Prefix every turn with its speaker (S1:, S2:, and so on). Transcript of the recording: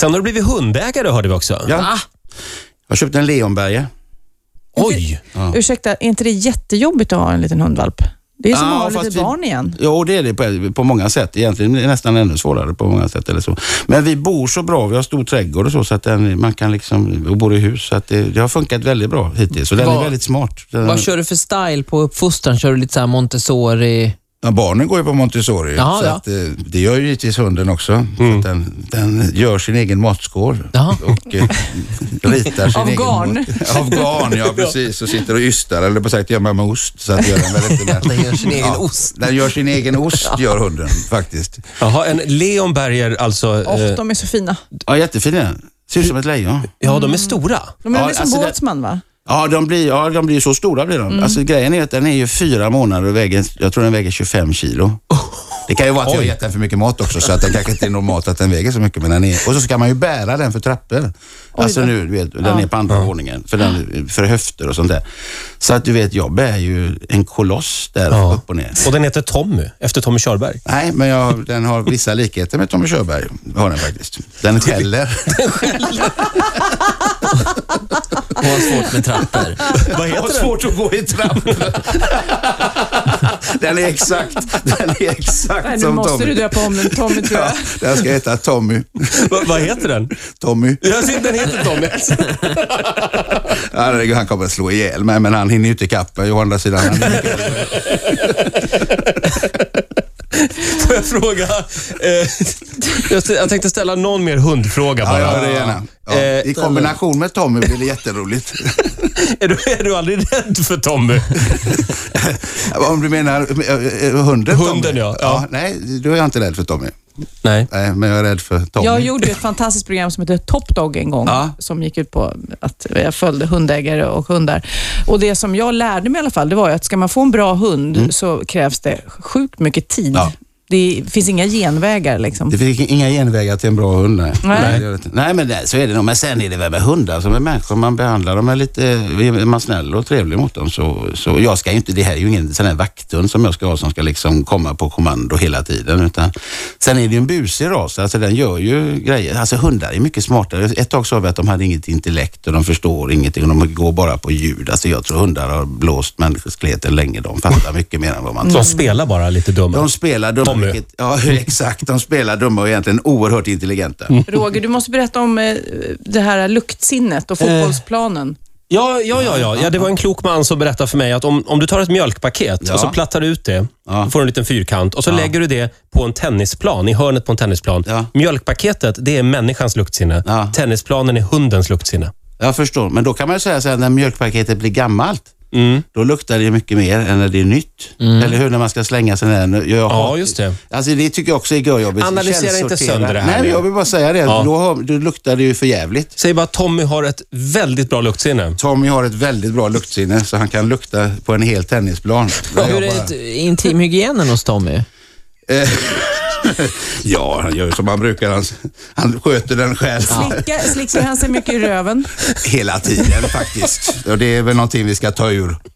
S1: Sen har du blivit hundägare hörde vi också.
S2: Ja. Jag köpte en leonbergare.
S1: Oj!
S3: Ursäkta, är inte det jättejobbigt att ha en liten hundvalp? Det är som
S2: Ja,
S3: att ha
S2: fast
S3: lite
S2: vi-
S3: barn igen.
S2: Jo, det är det på, på många sätt. Egentligen är det nästan ännu svårare på många sätt. Eller så. Men vi bor så bra, vi har stor trädgård och så, så att den, man kan liksom, och bor i hus. Så att det, det har funkat väldigt bra hittills och den är
S4: Vad-
S2: väldigt smart. Den,
S4: Vad kör du för style på uppfostran? Kör du lite så här Montessori?
S2: ja, barnen går ju på Montessori,
S4: Jaha,
S2: så
S4: ja.
S2: att, eh, det gör ju givetvis hunden också. Så att den, den gör sin egen matskål
S4: Jaha.
S2: och eh, ritar sin
S3: Av
S2: egen
S3: garn.
S2: Mat. Av garn, ja precis. Och sitter och ystar, eller på sagt gör man med ost. Så att gör den, väl inte, men,
S4: Den gör sin egen ost.
S2: Den gör sin egen ost, gör hunden faktiskt.
S1: Jaha, en leonberger alltså.
S3: Åh,
S1: eh,
S3: de är så fina.
S2: Ja, jättefin är den. Ser ut som ett lejon.
S1: ja, de är stora.
S3: De är
S2: Ja,
S3: väl som
S2: alltså det-
S3: båtsman va?
S2: Ja, de blir, ja, de blir så stora blir de. Alltså, grejen är att den är ju fyra månader och väger, jag tror den väger 25 kilo. Det kan ju vara att jag har gett den för mycket mat också, så att den kanske inte är normalt att den väger så mycket. Men den är, och så ska man ju bära den för trappor. Alltså
S3: då.
S2: nu, du vet, den är på andra våningen, för, den, för höfter och sånt där. Så att du vet, jag bär ju en koloss där
S1: Ja.
S2: upp och ner.
S1: Och den heter Tommy, efter Tommy Körberg.
S2: Nej, men jag, den har vissa likheter med Tommy Körberg. Har den faktiskt. Den skäller.
S4: Och har svårt med trappor.
S1: Vad
S2: Jag har
S1: heter den?
S2: svårt att gå i trappor. den är exakt, den är exakt
S3: Nej, nu
S2: som
S3: måste
S2: Tommy.
S3: du döpa om den Tommy tror jag.
S2: Ja, den ska heta Tommy.
S1: Va, vad heter den?
S2: Tommy.
S1: Jag ser, den heter Tommy.
S2: Herregud, Han kommer att slå ihjäl mig, men han hinner ju inte ikapp mig. Å andra sidan, han är mycket äldre.
S1: Får jag fråga? Eh, jag, jag tänkte ställa någon mer hundfråga
S2: ja,
S1: bara.
S2: gör det gärna. Ja,
S1: Eh,
S2: I kombination med Tommy blir det jätteroligt.
S1: är, du, är du aldrig rädd för Tommy?
S2: Om du menar eh, eh, hunden Tommy?
S1: Hunden, ja. Ja.
S2: Nej, då är jag inte rädd för Tommy.
S1: Nej.
S2: Nej, men jag är rädd för Tommy.
S3: Jag gjorde ju ett fantastiskt program som hette Top Dog en gång,
S2: Ja.
S3: som gick ut på att jag följde hundägare och hundar. Och Det som jag lärde mig i alla fall, det var ju att ska man få en bra hund så krävs det sjukt mycket tid.
S2: Mm. Ja.
S3: Det finns inga genvägar liksom.
S2: Det fick inga genvägar till en bra hund. Nej,
S3: Nej.
S2: det gör det inte. nej men det, så är det nog. Men sen är det väl med hundar som med människor. Man behandlar dem med lite, eh, är man snäll och trevlig mot dem så, så jag ska ju inte, det här är ju ingen sån här vakthund som jag ska ha som ska liksom komma på kommando hela tiden. Utan, sen är det ju en busig ras, alltså den gör ju grejer. Alltså hundar är mycket smartare. Ett tag sa vi att de hade inget intellekt och de förstår ingenting och de går bara på ljud. Alltså jag tror hundar har blåst människors kleter länge. De fattar mycket mer än vad man tror.
S1: De spelar bara lite dumma.
S2: De spelar dumma.
S1: Tommy.
S2: Vilket, ja, exakt. De spelar dumma och är egentligen oerhört intelligenta.
S1: Mm.
S3: Roger, du måste berätta om eh, det här luktsinnet och
S2: Eh.
S3: fotbollsplanen.
S1: Ja, ja, ja, ja. ja, det var en klok man som berättade för mig att om, om du tar ett mjölkpaket och så plattar du ut det,
S2: Ja.
S1: får en liten fyrkant och så lägger du det på en tennisplan, i hörnet på en tennisplan.
S2: Ja.
S1: Mjölkpaketet, det är människans luktsinne.
S2: Ja.
S1: Tennisplanen är hundens luktsinne.
S2: Jag förstår, men då kan man ju säga så här, när mjölkpaketet blir gammalt,
S1: Mm.
S2: då luktar det mycket mer än när det är nytt. Eller hur? När man ska slänga sig där. Jag
S1: Ja, just det.
S2: Alltså det tycker jag också är görjobbigt.
S1: Analysera inte
S2: Källsortera.
S1: sönder det här
S2: Nej,
S1: nu.
S2: men jag vill bara säga det. Då, har, då luktar det ju för jävligt.
S1: Säg bara att Tommy har ett väldigt bra luktsinne.
S2: Tommy har ett väldigt bra luktsinne, så han kan lukta på en hel tennisplan. Där jag
S4: Hur
S2: bara-
S4: är det- intimhygienen hos Tommy?
S2: Ja, han gör ju som han brukar. Han, han sköter den själv.
S3: Slicka, slickar han sig mycket i röven?
S2: Hela tiden faktiskt. Och det är väl någonting vi ska ta ur